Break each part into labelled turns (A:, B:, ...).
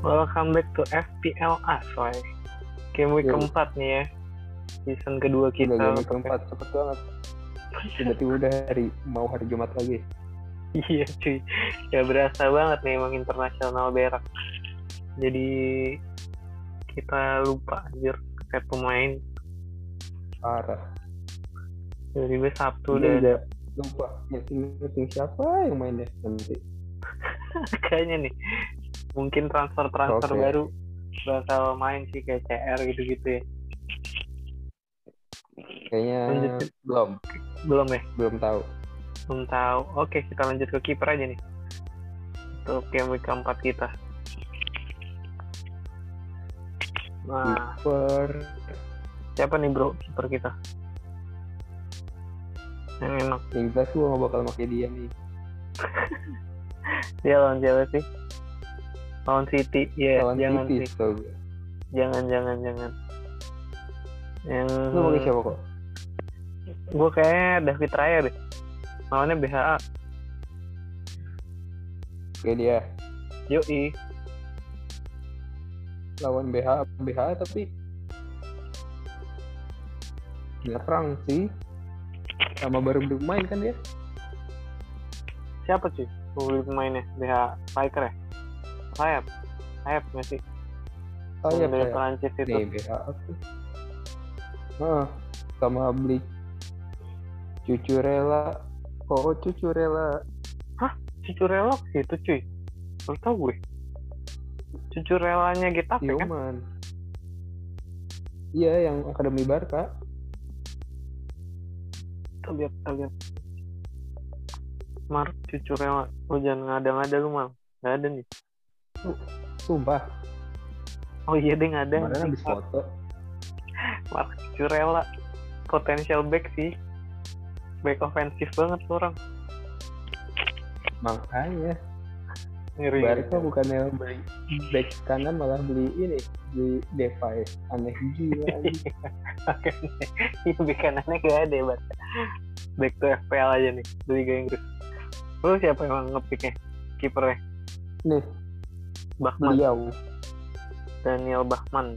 A: Welcome back to FPLA, soy. Game week
B: Yo.
A: keempat nih ya. Season kedua kita.
B: Iya. Udah game keempat cepet banget. Tiba-tiba udah hari mau hari Jumat lagi.
A: Iya cuy. Ya berasa banget nih emang internasional berak. Jadi kita lupa anjir set pemain.
B: Parah.
A: Jadi gue Sabtu
B: Ini
A: dan
B: udah lupa nyeting nyeting siapa yang mainnya nanti.
A: kayaknya nih. Mungkin transfer-transfer
B: Oke.
A: baru bakal main sih kayak CR gitu-gitu ya.
B: Kayaknya
A: Lanjutin.
B: belum
A: Belum ya?
B: belum tahu.
A: Belum tahu. Oke, kita lanjut ke kiper aja nih. Untuk game week keempat kita.
B: Hmm.
A: Nah,
B: Per
A: siapa nih bro kiper kita? Yang enak.
B: yang jelas gue gak bakal pakai dia nih.
A: Dia lawan siapa sih? Lawan City. Iya,
B: Lawan
A: jangan
B: City,
A: sih.
B: tau gue.
A: Jangan, jangan, jangan. Yang
B: Lu pakai siapa kok?
A: Gue kayaknya David Raya deh. Lawannya BHA.
B: Kayak dia
A: Yoi.
B: lawan BH BH tapi nyerang sih sama baru bermain kan dia
A: Siapa sih? Pembeli pemainnya BHA. Striker ya? Sayap. Sayap nggak sih?
B: oh iya
A: Yang dari
B: kayak-
A: Perancis itu.
B: nih BH aku ah sama beli cucu rela oh cucu rela
A: cucu relok sih itu cuy Baru tau gue cucu relanya Getafe kan
B: Yuman iya yang akademi Barca
A: kita lihat kita lihat Mark cucu rela lu jangan ngada-ngada lu mal nggak ada nih
B: sumpah
A: oh iya deh nggak ada
B: kemarin habis foto
A: Mark cucu rela potensial back sih back ofensif banget tuh orang
B: makanya
A: ngeri
B: Barca bukannya beli back kanan malah beli ini beli device aneh gila anjing.
A: Iya, back kanannya nggak ada ya Barca back to FPL aja nih di Liga Inggris lu siapa emang ngepicknya kipernya
B: nih Iya.
A: Bachmann
B: beliau
A: Daniel Bachmann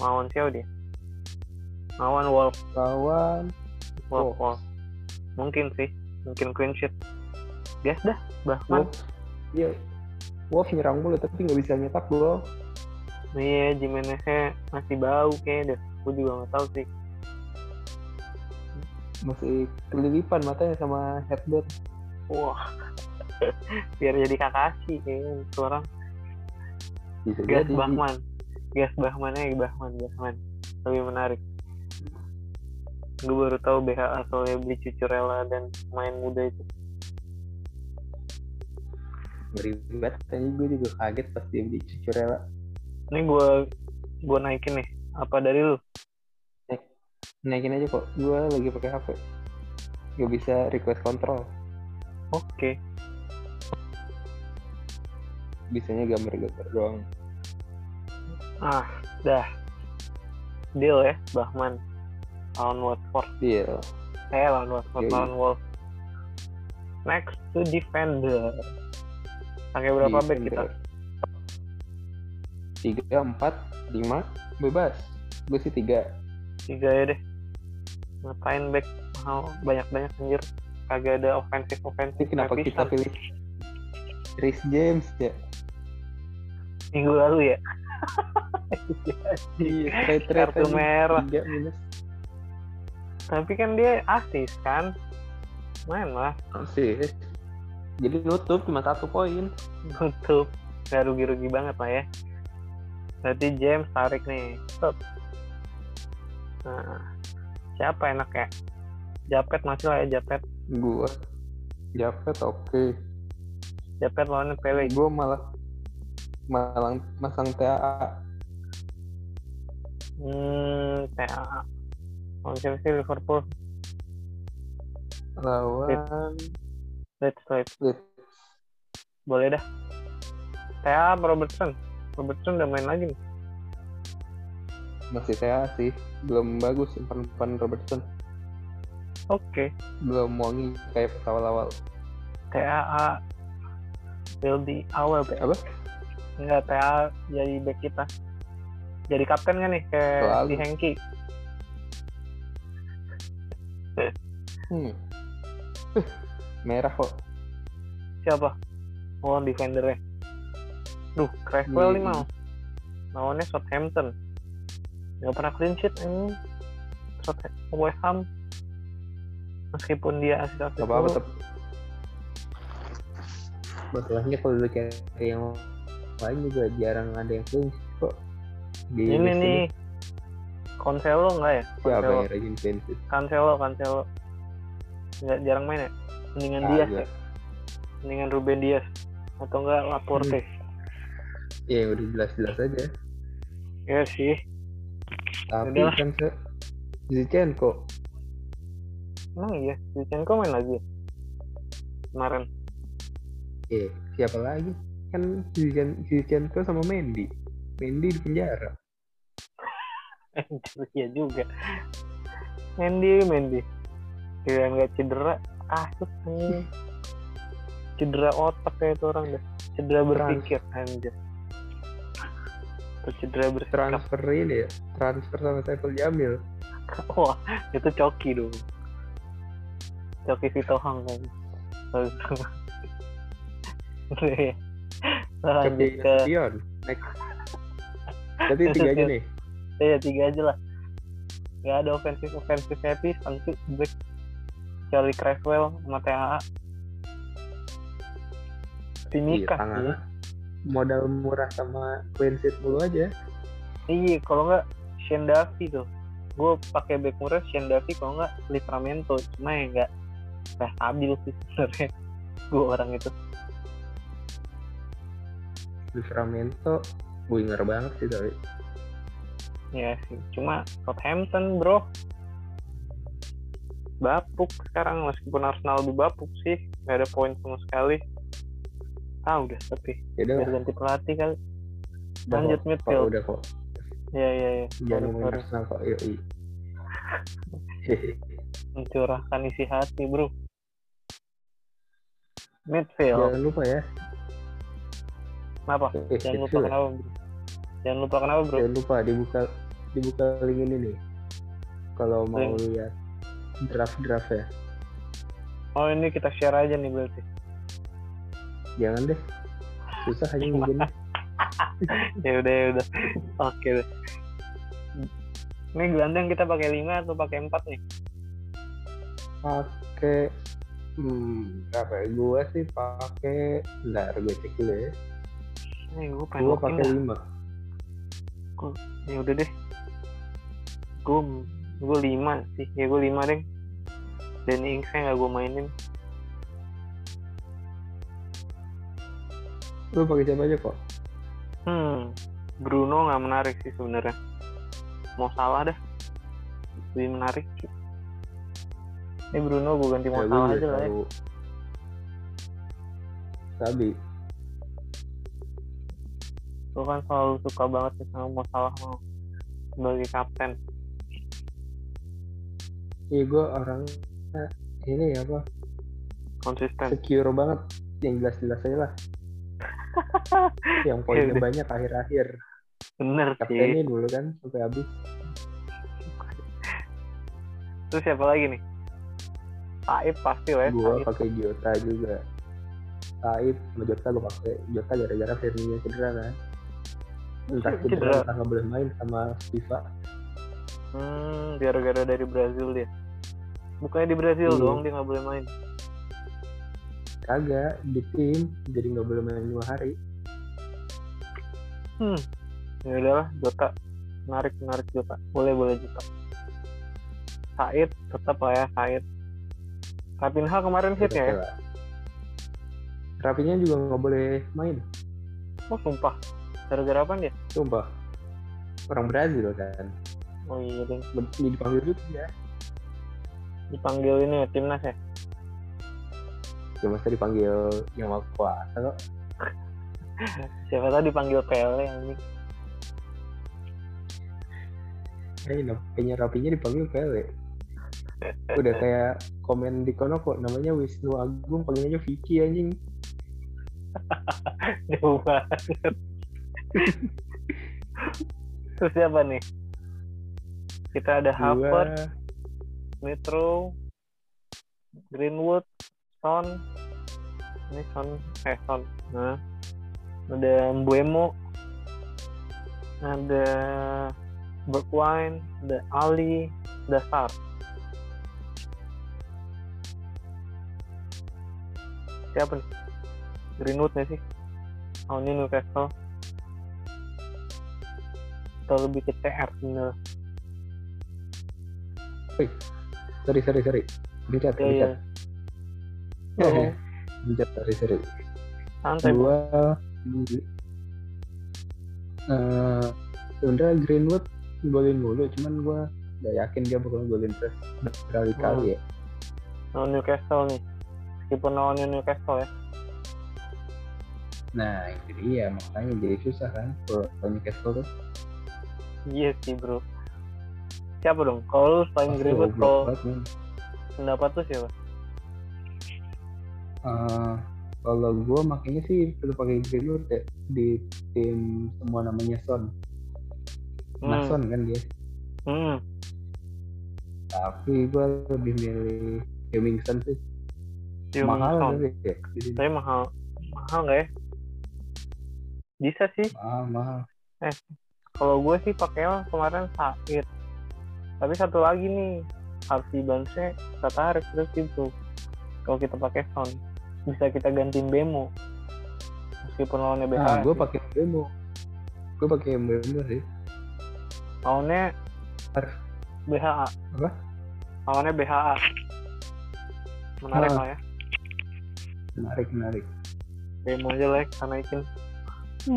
A: lawan siapa dia lawan Wolf
B: lawan
A: Wolf, Wolf.
B: Wolves.
A: mungkin sih mungkin clean sheet gas dah Bachmann
B: Wolves dia Wolves iya. nyerang mulu tapi nggak bisa nyetak gol
A: iya Jimeneznya masih bau kayaknya deh gue juga nggak tahu sih
B: masih kelilipan matanya sama headbutt
A: wah biar jadi Kakashi kayaknya itu orang
B: bisa
A: gas
B: jadi
A: Bachmann gas Bachmannnya Bachmann Bachmann lebih menarik gue baru tahu BHA soalnya beli Cucurella dan main muda itu
B: beribet tadi gue juga kaget pas dia beli ya, cucu rela
A: ini gue gue naikin nih apa dari lu
B: naikin aja kok gue lagi pakai hp gak bisa request kontrol
A: oke
B: bisanya gambar-gambar doang
A: Ah, dah. Deal ya, Bahman. Lawan Watford.
B: deal
A: Eh, lawan Watford,
B: Yoi.
A: lawan Wolves. Next to defender. Pakai berapa
B: Di
A: back kita?
B: Tinder. tiga empat lima bebas gue sih tiga
A: Tiga ya deh. Ngapain back mahal banyak-banyak anjir. Kagak ada ofensif-ofensif.
B: ini kenapa
A: kan
B: kita pilih Chris James ya
A: Minggu lalu ya?
B: iya straight red
A: Kartu
B: aja.
A: merah.
B: tiga minus
A: Tapi kan dia asis kan? Main lah.
B: sih jadi nutup cuma satu poin
A: Tutup. Gak rugi-rugi banget lah ya. Berarti James tarik nih. Stop. Nah, siapa enak ya? Japet masih lah ya Japet.
B: gue Japet oke
A: Japet lawannya Pele.
B: gue Eh, malah malang masang TAA
A: Hmm, TA. Lawan siapa sih Liverpool? Eh.
B: lawan
A: Let's Leeds.
B: Leeds.
A: Boleh dah. TA apa Robertson. Robertson udah main lagi nih.
B: masih TAA sih belum bagus umpan-umpan Robertson
A: Oke.
B: belum wangi kayak pas awal-awal
A: TAA will be our back.
B: Eh, Apa?
A: Enggak, PA jadi back kita. Jadi kapten kan nih, kayak
B: Selalu.
A: di Hengki.
B: Hmm. Huh, merah kok.
A: Siapa? Oh, defendernya. Duh, Creswell nih
B: Hmm.
A: mau. Lawannya Southampton. Nggak pernah clean sheet ini. Southampton, West Ham. Meskipun dia asis-asis
B: Gak apa-apa
A: mulu.
B: tetap. Masalahnya kalau lu cari yang lain juga jarang ada yang clean sheet kok. Di
A: Ini
B: list
A: nih, Cancelo nggak ya?
B: siapa
A: Cancelo.
B: yang rajin clean sheet?
A: Cancelo, Cancelo. Nggak jarang main ya? Mendingan
B: Ah,
A: Diaz
B: gua-
A: ya? Mendingan Ruben Diaz. Atau enggak Laporte.
B: Ya udah jelas-jelas aja.
A: Iya sih.
B: Tapi
A: Udah lah.
B: kan se Zinchenko
A: Emang iya? Zinchenko main lagi ya? Kemarin.
B: Eh, siapa lagi? Kan Zinchenko, Zinchenko sama Mendy. Mendy di penjara.
A: Anjir, iya juga. Mendy, Mendy. Kira nggak cedera, asik anjing. Cedera otak kayak itu orang dah. Cedera berpikir anjir. Atau cedera bersikap.
B: Transfer ini ya. Transfer sama Saiful Jamil.
A: Wah, itu coki dong. Coki Sitohang kan. Bagus. Oke. Nah, Lanjut
B: Tapi
A: ke
B: Sion. Next. Berarti tiga aja nih.
A: Iya tiga aja lah. Gak ada ofensif ofensif happy nanti Black Charlie Creswell sama TAA.
B: Iya,
A: Timika
B: tangan.
A: sih.
B: Modal murah sama clean sheet dulu aja.
A: Iya kalau nggak Shane Duffy tuh. Gue pakai back murah Shane Duffy kalau nggak Livramento cuma ya nggak nggak stabil sih sebenarnya. Gue orang itu.
B: Livramento winger banget sih tapi.
A: Ya sih. Cuma Southampton bro. Bapuk sekarang meskipun Arsenal lebih bapuk sih. Gak ada poin sama sekali. Ah udah tapi
B: Jadi
A: biar ganti pelatih kali. Lanjut
B: Kok,
A: midfield.
B: udah kok.
A: Ya ya
B: Iya,
A: ya.
B: Jangan
A: Harus-
B: ngomongin
A: harus
B: Arsenal kok. Yoi.
A: mencurahkan isi hati bro. Midfield.
B: Jangan lupa ya.
A: Kenapa? Jangan
B: Eh,
A: lupa
B: midfield. Ya.
A: kenapa bro? Jangan lupa kenapa bro?
B: Jangan lupa dibuka dibuka link ini nih. Kalau mau
A: Link.
B: lihat draft-draft ya.
A: Oh ini kita share aja nih berarti.
B: Jangan deh. Susah aja mungkin.
A: Ya udah ya udah. Oke deh. Ini gelandang kita pakai 5 atau pakai 4 nih?
B: Pakai hmm, apa ya? Gua sih pakai bentar gue cek dulu ya.
A: Ini gue pengen
B: Gua
A: login
B: pakai
A: dah.
B: lima.
A: Ya udah deh. Gue gue 5 sih. Ya gue 5 deh. Dan Ingsnya nggak gue mainin.
B: Lu pakai siapa aja kok?
A: Hmm, Bruno nggak menarik sih sebenarnya. Mau salah dah, lebih menarik. Ini Bruno gue ganti mau
B: Ya,
A: salah
B: gua
A: aja lah ya.
B: tahu. Sabi.
A: Gue kan selalu suka banget sih sama mau salah mau sebagai kapten.
B: Iya gue orang eh, ini apa?
A: Konsisten.
B: Secure banget. Yang jelas-jelas aja lah. yang poinnya
A: udah.
B: banyak akhir-akhir.
A: Bener sih.
B: Kaptennya dulu kan sampai habis.
A: Terus siapa lagi nih? Taib pasti lah ya.
B: gua
A: Taib.
B: pakai Jota juga Saib sama Jota gua pakai Jota gara-gara Firmino cedera kan entah
A: Cedera.
B: cedera entah nggak boleh main sama FIFA
A: Hmm, gara-gara dari Brazil dia. Bukannya di Brazil
B: Iya.
A: doang dia nggak boleh main.
B: kagak di tim jadi nggak boleh main dua hari
A: Hmm, ya udahlah Jota menarik menarik Jota boleh boleh Jota Said tetap lah ya Said Rapinha kemarin hit ya
B: Kira-kira. Rapinya juga nggak boleh main
A: oh sumpah gara-gara apa dia
B: sumpah orang Brazil kan
A: oh iya ding.
B: Ber- ini dipanggil dulu ya
A: dipanggil ini ya timnas ya
B: ya masa dipanggil yang mau kuasa kok
A: siapa tahu dipanggil Pele ini
B: Eh, namanya rapinya dipanggil Pele. Udah kayak komen di kono kok namanya Wisnu Agung panggilnya Vicky anjing.
A: jauh banget Terus siapa nih? Kita ada
B: Gua
A: Harvard, Metro, Greenwood, Son, ini Son, eh Son, nah, ada Mbuemo, ada Bergwijn, ada Ali, ada Sar. Siapa nih? Greenwood nggak sih? Tahun ini Newcastle atau lebih ke CR sebenarnya.
B: sorry sorry sorry.
A: Iya,
B: Bencat, bencat.
A: iya. Oh.
B: bencat, sorry sorry.
A: Santai.
B: Gua eh sebenarnya Greenwood golin mulu, cuman gua gak yakin dia bakal golin terus berkali-kali ya.
A: lawan Newcastle nih meskipun lawan Newcastle ya
B: Nah, itu dia makanya jadi susah kan kalau kalau Newcastle tuh.
A: iya sih bro siapa dong kalau lu selain
B: pasti
A: Greenwood
B: goblok
A: kalau
B: banget, men.
A: pendapat tuh siapa
B: Eh, kalau gue makanya sih perlu pakai Greenwood ya di tim semua namanya Son. Nah, Son kan dia.
A: hmm.
B: Tapi gue lebih milih Hemmingson sih.
A: Sion Son.
B: mahal tapi ya. Jadi,
A: tapi mahal mahal nggak ya bisa sih
B: mahal, mahal.
A: kalau gue sih pakainya kemarin sakit tapi satu lagi nih harus dibantu kita tarik terus gitu kalau kita pakai sound bisa kita gantiin bemo meskipun lawannya BH
B: Nah, gue pakai Mbemo. Gue pakai Mbemo sih.
A: lawannya
B: Harus.
A: BHA
B: Apa?
A: lawannya BHA menarik
B: Ah.
A: lah ya
B: Menarik, menarik.
A: demo ya, jelek karena ikin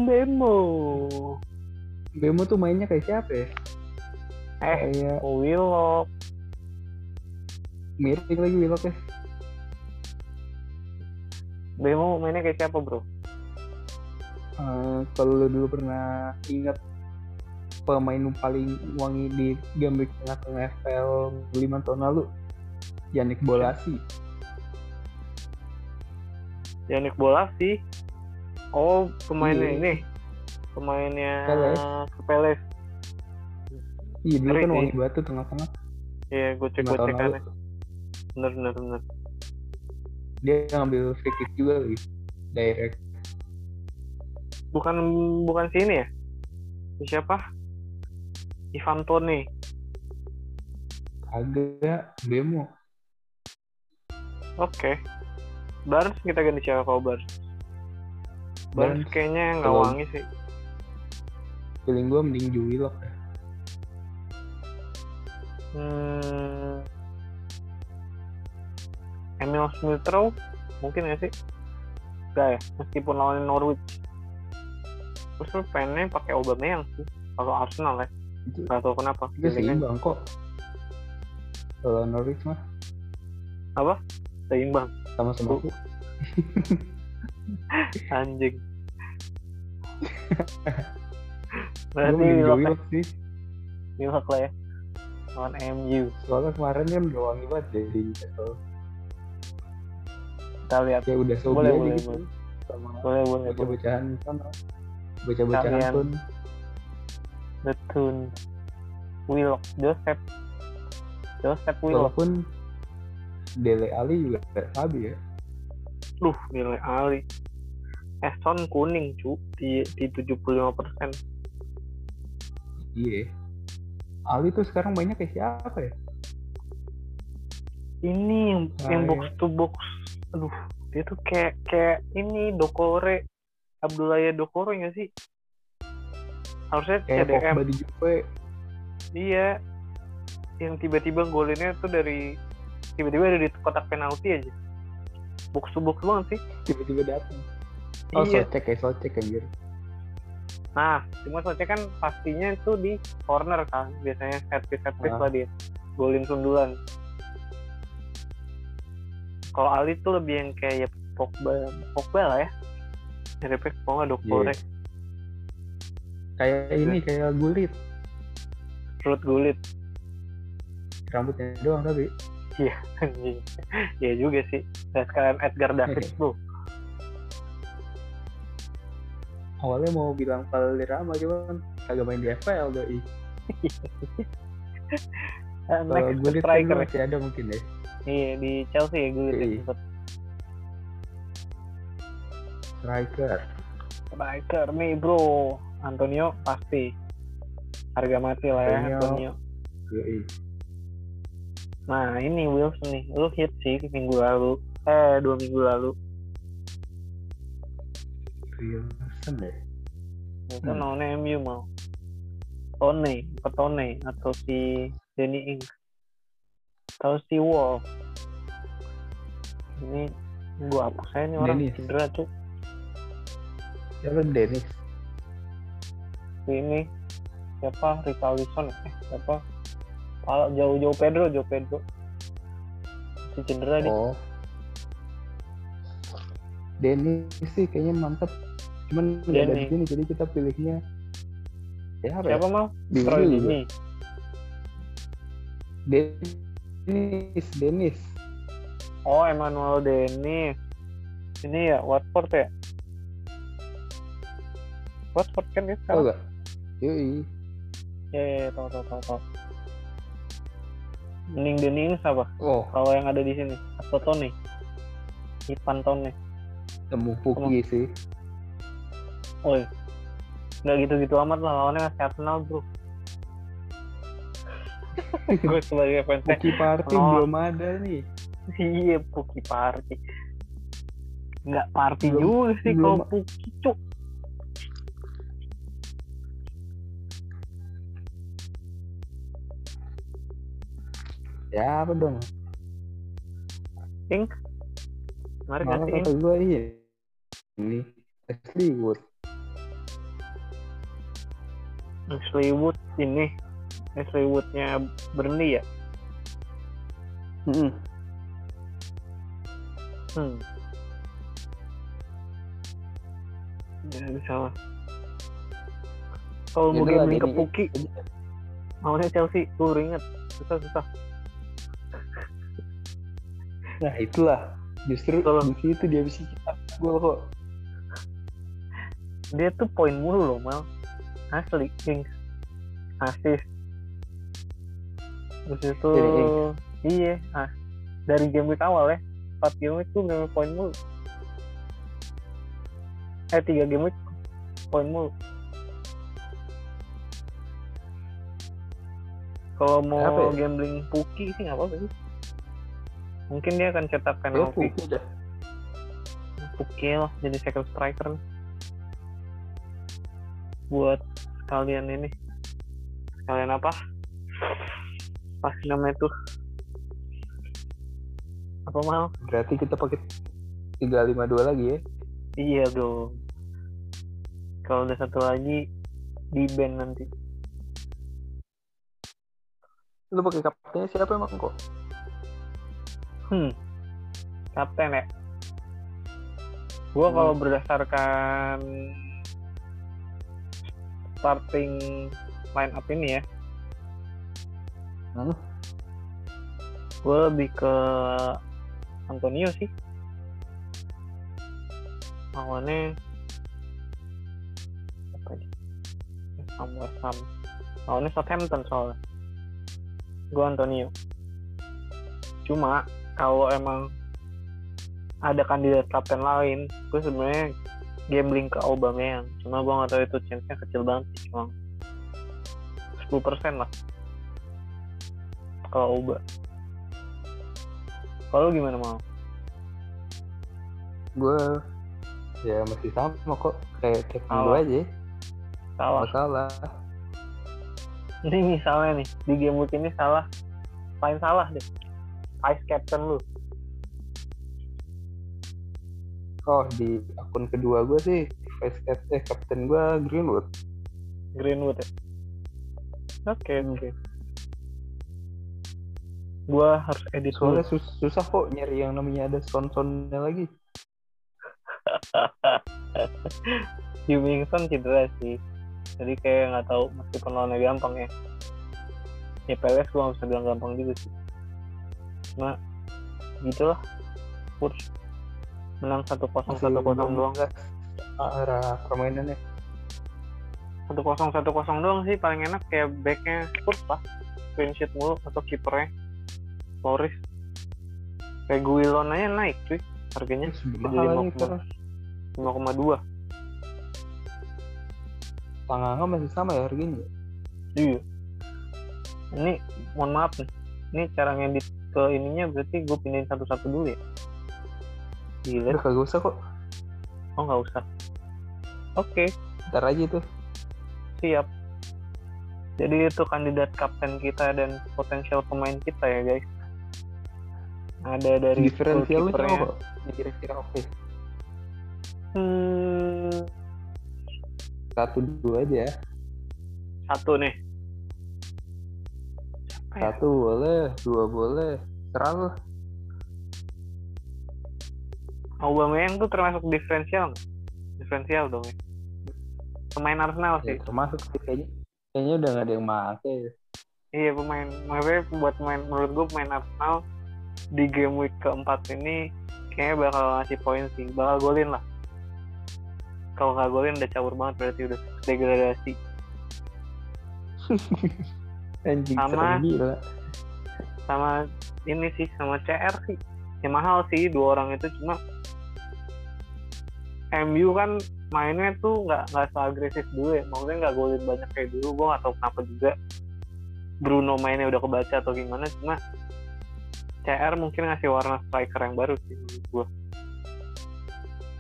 A: demo
B: Mbemo tuh mainnya kayak siapa ya?
A: eh
B: Kayak
A: Willow
B: miring lagi Willock ya.
A: demo mainnya kayak siapa bro
B: Eh, kalau lu dulu pernah ingat pemain paling wangi di game week tengah-tengah FPL 5 tahun lalu Yannick Bolasi
A: Yannick Bola sih oh pemainnya
B: Iya.
A: ini pemainnya
B: Peles.
A: Peles
B: iya dulu kan
A: Ngeri
B: wangi
A: sih.
B: batu tengah-tengah
A: Iya, gue cek
B: lima
A: gue
B: tahun
A: cek
B: lalu
A: aneh. Bener bener bener.
B: dia ngambil free kick juga lagi direct
A: Bukan bukan sini ya? Siapa? Ivan Toni.
B: agak demo
A: Oke. Barnes kita ganti siapa kalau Barnes? Barnes
B: Barnes.
A: kayaknya nggak
B: Kalau-
A: wangi sih.
B: feeling gue mending Juwilok
A: Hmm. Emil Smith Rowe mungkin nggak sih? Nggak ya, meskipun lawan Norwich. Terus lu pengennya pakai Aubameyang sih, kalau Arsenal ya.
B: itu
A: Nggak tahu kenapa.
B: itu
A: Feelingnya
B: seimbang kok kalau Norwich mah
A: Seimbang.
B: sama-sama aku
A: anjing
B: gue
A: berarti
B: mending
A: Willock ya,
B: Juwilok sih
A: Willock lah ya lawan MU
B: soalnya kemarin kan udah wangi banget jadi kalau
A: kita lihat
B: kayak udah sobi
A: Boleh,
B: aja
A: boleh,
B: gitu
A: boleh.
B: sama
A: boleh boleh boleh.
B: baca-bacaan sana baca-bacaan
A: Kalian.
B: kan, pun
A: betul Willock Joseph Joseph Willock
B: walaupun Dele Ali juga gak sabi ya
A: duh nilai Ali Eson kuning cu di, di 75%
B: iya Ali tuh sekarang mainnya kayak siapa ya
A: ini yang,
B: Ah,
A: yang
B: iya.
A: box to box aduh dia tuh kayak kayak ini Dokore Abdullah Dokore nggak sih harusnya
B: kayak
A: CDM
B: Pogba di Juve
A: Iya. Yang tiba-tiba golinnya tuh dari tiba-tiba ada di kotak penalti aja. Box to box banget sih.
B: tiba-tiba datang oh
A: iya.
B: socek kayak socek anjir
A: Nah, cuma soalnya kan pastinya itu di corner kan. Biasanya servis servis lah
B: Ah.
A: dia. Golin sundulan. Kalau Ali tuh lebih yang kayak ya Pogba, Pogba lah ya. Dari Pogba kalau nggak
B: Iya.
A: Dokore,
B: kayak ini kayak gulit
A: Ruth Gullit.
B: rambutnya doang tapi
A: Anjing. Iya juga sih. Dan sekarang Edgar Davids bro.
B: awalnya mau bilang Valderrama cuman kagak main di FPL
A: Eh,
B: doi kalau
A: next
B: gue lihat kan
A: striker ya.
B: lu masih ada mungkin deh
A: iya di Chelsea ya gue liat
B: Iya.
A: sempet.
B: striker
A: striker nih bro Antonio pasti harga mati lah ya
B: Antonio.
A: Antonio
B: doi
A: nah ini Wilson nih lu hit sih minggu lalu eh dua minggu lalu
B: Wilson ya. deh
A: itu
B: Hmm.
A: no MU mau Tone Petone atau si Danny Ings atau si Wolf ini gua hapus aja nih orang
B: Dennis.
A: cedera tuh
B: Jalan Dennis
A: ini siapa Rivalison eh siapa kalau jauh-jauh Pedro jauh Pedro si cedera nih
B: oh Dennis sih kayaknya mantap cuman nggak ada di
A: Dennis.
B: sini jadi kita pilihnya ya apa ya?
A: siapa mau
B: Bingung
A: Troy
B: juga.
A: ini
B: Dennis Dennis
A: oh Emmanuel Dennis ini ya Watford ya Watford kan ya
B: tau
A: sekarang
B: gak? Yoi
A: ya ya tau tau tau tau mending Danny Ings apa
B: oh
A: kalau yang ada di sini atau Tony Ivan Tony
B: temu Puki sih
A: Oi, nggak gitu-gitu amat lah lawannya masih Arsenal bro. gue sebagai fans
B: Puki Party
A: Oh.
B: belum ada nih
A: iya Puki party. Nggak party
B: Belum-
A: juga sih kalau
B: belum-
A: Puki cuk.
B: ya apa dong
A: Kemarin
B: malah
A: kasih
B: kata gue iya ini Ashley Wood
A: Ashley Wood ini Ashley Woodnya Burnley ya. Hmm. Ya bisa lah. Kalau mau
B: Itu ada
A: gambling ke
B: ini.
A: Puki, maunya Chelsea, gue inget susah-susah.
B: nah itulah justru
A: Tolong.
B: di situ dia bisa cetak gol kok
A: dia tuh poin mulu loh mal asli Ings asis terus itu
B: Jadi Ings.
A: iya ah dari game week awal ya 4 game week tuh ngambil poin mulu eh 3 game week poin mulu kalau
B: Apa
A: mau
B: ya?
A: gambling Puki sih nggak apa-apa sih mungkin dia akan cetak
B: ya
A: penalti
B: Puki dah
A: Puki lah jadi second striker nih. buat kalian ini kalian apa pas namanya tuh apa mal
B: berarti kita pakai 352 lagi ya
A: iya dong kalau udah satu lagi di band nanti
B: lu pakai kaptennya siapa emang kok
A: hmm kapten ya gua
B: Hmm.
A: kalau berdasarkan starting line up ini ya
B: hmm?
A: gue lebih ke Antonio sih lawannya apa ya West Ham West Ham lawannya Southampton soalnya gue Antonio cuma kalau emang ada kandidat kapten lain gue sebenarnya gambling ke Aubameyang cuma gue nggak tahu itu chance-nya kecil banget sih cuma 10% lah kalau Auba kalau lu gimana mau
B: gue ya masih sama kok kayak tiap minggu
A: Salah.
B: aja
A: salah
B: masalah
A: ini misalnya nih di game week ini salah paling salah deh vice captain lu
B: oh di akun kedua gue sih vice captain eh, kapten gue Greenwood
A: Greenwood ya oke
B: Hmm.
A: oke gua harus edit dulu
B: soalnya sus- susah kok nyari yang namanya ada son-sonnya lagi
A: Hummingson cedera sih jadi kayak nggak tahu meskipun lawannya gampang ya ya PLS gua nggak bisa bilang gampang juga sih cuma gitulah Spurs menang satu kosong
B: masih
A: satu kosong doang
B: doang arah permainannya
A: satu kosong satu kosong doang sih paling enak kayak backnya Spurs lah clean sheet mulu atau kipernya Loris kayak Guilon aja naik cuy harganya
B: Hmm.
A: jadi
B: Mahal nih
A: lima
B: terus.
A: koma dua
B: Tanganga masih sama ya harganya. ya?
A: iya ini mohon maaf nih ini cara ngedit ke ininya berarti gue pindahin satu-satu dulu ya gila
B: Udah kagak usah kok.
A: oh nggak usah oke
B: Ntar aja tuh.
A: siap jadi itu kandidat kapten kita dan potensial pemain kita ya guys ada dari
B: Diferensialnya
A: goalkeeper-nya.
B: cuma kok. Ya, Kira-kira oke.
A: hmm,
B: Satu dua aja. ya.
A: satu nih Siapa ya?
B: Satu boleh, dua boleh. Terang lah.
A: Aubameyang tuh termasuk diferensial nggak? diferensial dong ya pemain Arsenal
B: Ya,
A: sih
B: termasuk sih kayaknya. Kayaknya udah gak ada yang make.
A: iya pemain maksudnya buat pemain menurut gue pemain Arsenal di game week keempat ini kayaknya bakal ngasih poin sih bakal golin lah kalau nggak golin udah cabur banget berarti udah degradasi
B: Anjing
A: Sama.
B: serem gila.
A: sama ini sih sama CR sih ya mahal sih dua orang itu cuma MU kan mainnya tuh nggak nggak seagresif dulu ya maksudnya nggak golin banyak kayak dulu gue nggak tahu kenapa juga Bruno mainnya udah kebaca atau gimana cuma CR mungkin ngasih warna striker yang baru sih menurut gue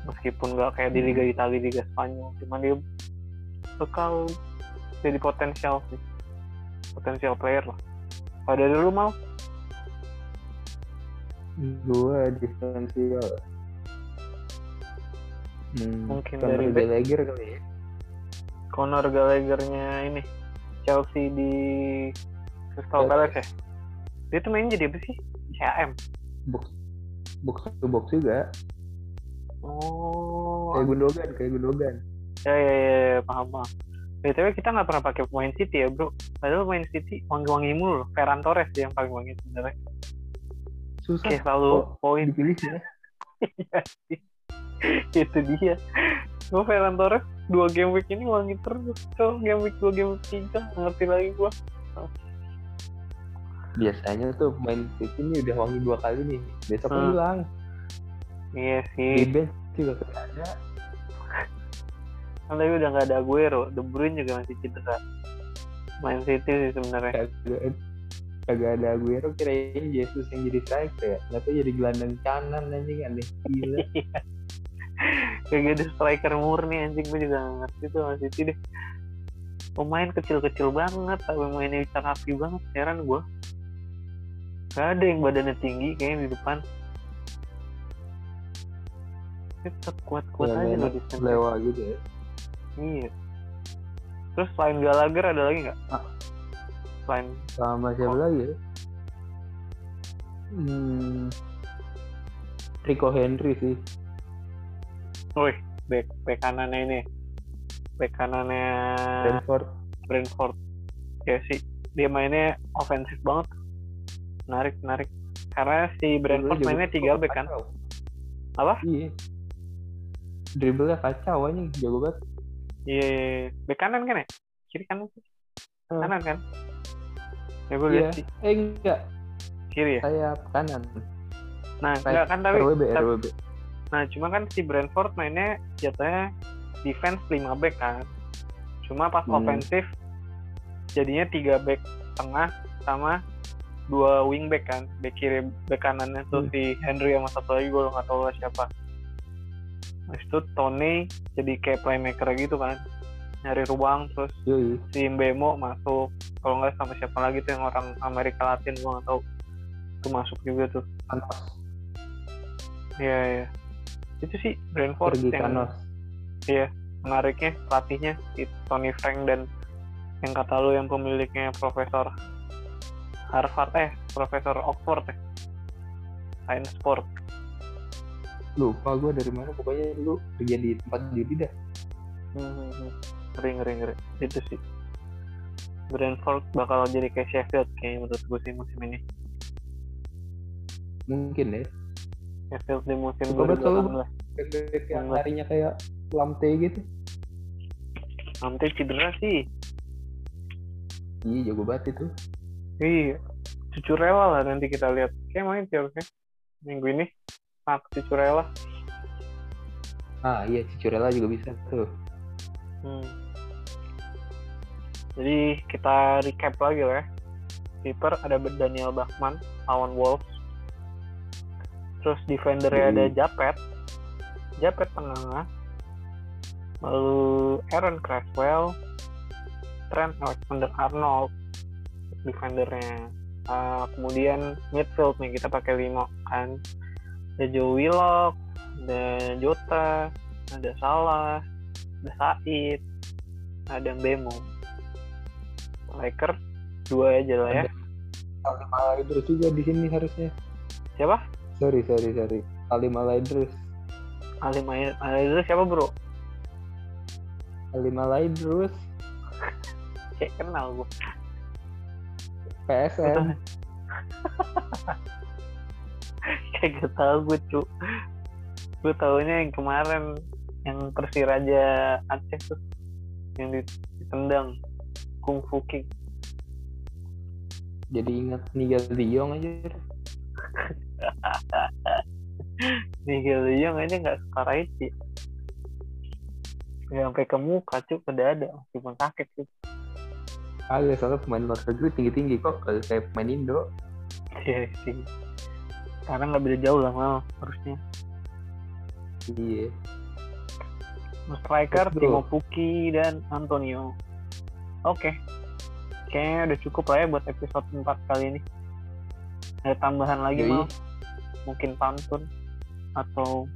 A: meskipun nggak kayak di Liga Italia Liga Spanyol cuma dia bakal jadi potensial sih potensial player lah pada dulu mau
B: Gua diferensial. Hmm,
A: Mungkin
B: karena
A: dari
B: udah Gallagher kali ya.
A: Conor Gallagher-nya ini Chelsea di Crystal Palace ya dia tuh main jadi apa sih CAM
B: Box box to box juga.
A: oh
B: Kayak Gundogan, kayak Gundogan.
A: ya ya ya, ya, paham paham btw kita nggak pernah pakai pemain City ya bro padahal pemain City wangi-wangi mulu loh Ferran Torres dia yang paling wangi sebenarnya
B: Susah
A: kayak selalu
B: Oh.
A: poin
B: dipilih ya.
A: itu dia gue Ferran Torres dua game week ini wangi terus so game week dua game week tiga nggak ngerti lagi gue
B: Biasanya tuh main City ini udah wangi dua kali nih. Besok
A: Hmm.
B: hilang.
A: iya sih
B: Di bench juga kagak ada.
A: Kan tapi udah nggak ada Aguero, De Bruyne juga masih cedera. Main City sih sebenarnya.
B: Kagak- Kagak ada Aguero kirain Jesus yang jadi striker ya. Tapi jadi gelandang kanan anjing aneh gila.
A: Kayak ada striker murni anjing gue juga nggak ngerti tuh Man City deh. Pemain kecil-kecil banget, tapi mainnya bisa rapi banget. Heran gue. Gak ada yang badannya tinggi kayaknya di depan. Tetap kuat-kuat
B: Ya,
A: aja
B: memang
A: loh di sana.
B: Lewa gitu ya.
A: Iya. Terus selain Gallagher ada lagi nggak?
B: Ah.
A: Selain
B: Sama siapa
A: Oh.
B: lagi ya? Hmm. Rico Henry sih.
A: Wih, back, back kanannya ini. Back kanannya
B: Brentford.
A: Brentford. Ya sih, dia mainnya ofensif banget. Menarik, menarik. Karena si Brentford
B: Dribble-nya
A: mainnya
B: jago-
A: tiga back kan.
B: kacau.
A: Apa?
B: Iya. Dribblenya kacau anjing, jago banget.
A: Iya, iya, iya. back kanan kan ya? Kiri kanan sih.
B: Hmm.
A: Kanan kan? Ya gue
B: Iya.
A: lihat sih,
B: Eh enggak,
A: kiri ya.
B: sayap kanan.
A: Nah,
B: Right.
A: enggak kan tapi
B: RWB,
A: tapi-
B: RWB.
A: Nah, cuma kan si Brentford mainnya jatuhnya defense 5 back kan. Cuma pas
B: Hmm.
A: ofensif jadinya 3 back tengah sama dua wing back kan. Back kiri, back kanannya tuh
B: Hmm.
A: si Henry sama satu lagi gue nggak tahu lah siapa. Habis itu Tony jadi kayak playmaker gitu kan. Nyari ruang terus
B: Yoi.
A: si Mbemo masuk. Kalau nggak sama siapa lagi tuh yang orang Amerika Latin gue nggak tahu. Itu masuk juga tuh.
B: Kanos
A: Iya, iya. Itu sih Brentford
B: pergi
A: yang
B: Kanos.
A: Iya, menariknya pelatihnya si Tony Frank dan yang kata lu yang pemiliknya Profesor Harvard eh Profesor Oxford eh Science Sport
B: Lupa gue dari mana pokoknya lu kerja di tempat judi dah.
A: ngeri ngeri ngeri itu sih Brentford bakal jadi kayak Sheffield kayaknya menurut gue sih musim ini
B: Mungkin ya.
A: Sheffield di musim
B: Coba betul.
A: 2018
B: Kayak- Kayak
A: Banget.
B: larinya kayak lamte gitu.
A: Ante cedera sih.
B: Iya jago banget itu.
A: Iya. Cucu rela lah nanti kita lihat. Kayak main sih harusnya. Minggu ini. Pak cucu rela.
B: Ah iya Cicurella juga bisa tuh.
A: Hmm. Jadi kita recap lagi lah ya. Keeper ada Daniel Bachmann lawan Wolves. Terus defender
B: Hmm.
A: ada Japet. Japet tengah. Lalu Aaron Creswell. Trent Alexander-Arnold defendernya. Ah, kemudian midfield nih kita pakai lima kan. Ada Joe Willock, ada Jota, ada Salah, ada Said, ada Bemo. Striker dua aja lah ya.
B: Salim terus juga di sini harusnya.
A: Siapa?
B: Sorry sorry sorry. Salim Alaidrus.
A: Alim Air, Air itu siapa bro?
B: Salim Alaidrus
A: Kayak kenal gue.
B: PSM.
A: Kayak gak tau gue cu. Gue taunya yang kemarin yang Persiraja Aceh tuh yang di- ditendang Kung Fu Kick.
B: Jadi ingat Nigel De Jong aja.
A: Nigel De Jong aja nggak separah itu. Ya, sampai ke muka cu ke dada meskipun sakit cu.
B: Kagak soalnya pemain luar negeri tinggi-tinggi kok kagak kayak pemain Indo.
A: Iya sih. Sekarang nggak beda jauh lah mal harusnya.
B: Iya.
A: striker
B: Betul.
A: Timo Pukki dan Antonio. Oke. Kayaknya udah cukup lah ya buat episode 4 kali ini. Ada tambahan lagi
B: Yoi.
A: mau mungkin pantun atau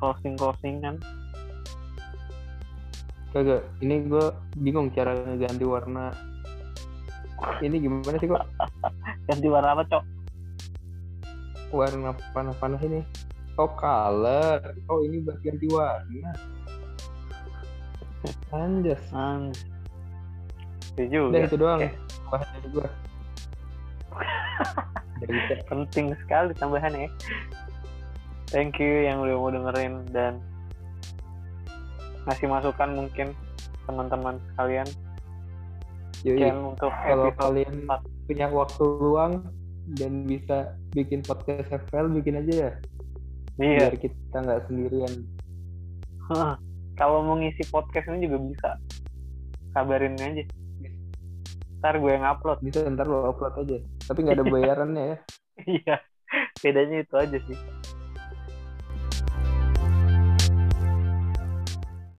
A: closing-closingan.
B: Kagak. Ini gue bingung cara ganti warna. Ini gimana sih kok
A: Ganti warna apa, Cok?
B: warna panas-panas ini? Oh color. Oh ini buat ganti warna. Anjas.
A: Hmm. Setuju.
B: Udah
A: ya?
B: itu doang.
A: Oke.
B: Bahan dari gitu. gue. Dari kita.
A: Penting sekali tambahannya. ya. Thank you yang udah mau dengerin dan ngasih masukan mungkin teman-teman sekalian.
B: Yoi.
A: Sekian untuk
B: Iya, kalau
A: episode
B: kalian
A: empat.
B: punya waktu luang dan bisa bikin podcast FL bikin aja ya
A: Iya.
B: biar kita nggak sendirian
A: Hah, kalau mau ngisi podcast ini juga bisa kabarin aja ntar gue yang upload
B: bisa ntar lo upload aja tapi nggak ada bayarannya ya
A: iya bedanya itu aja sih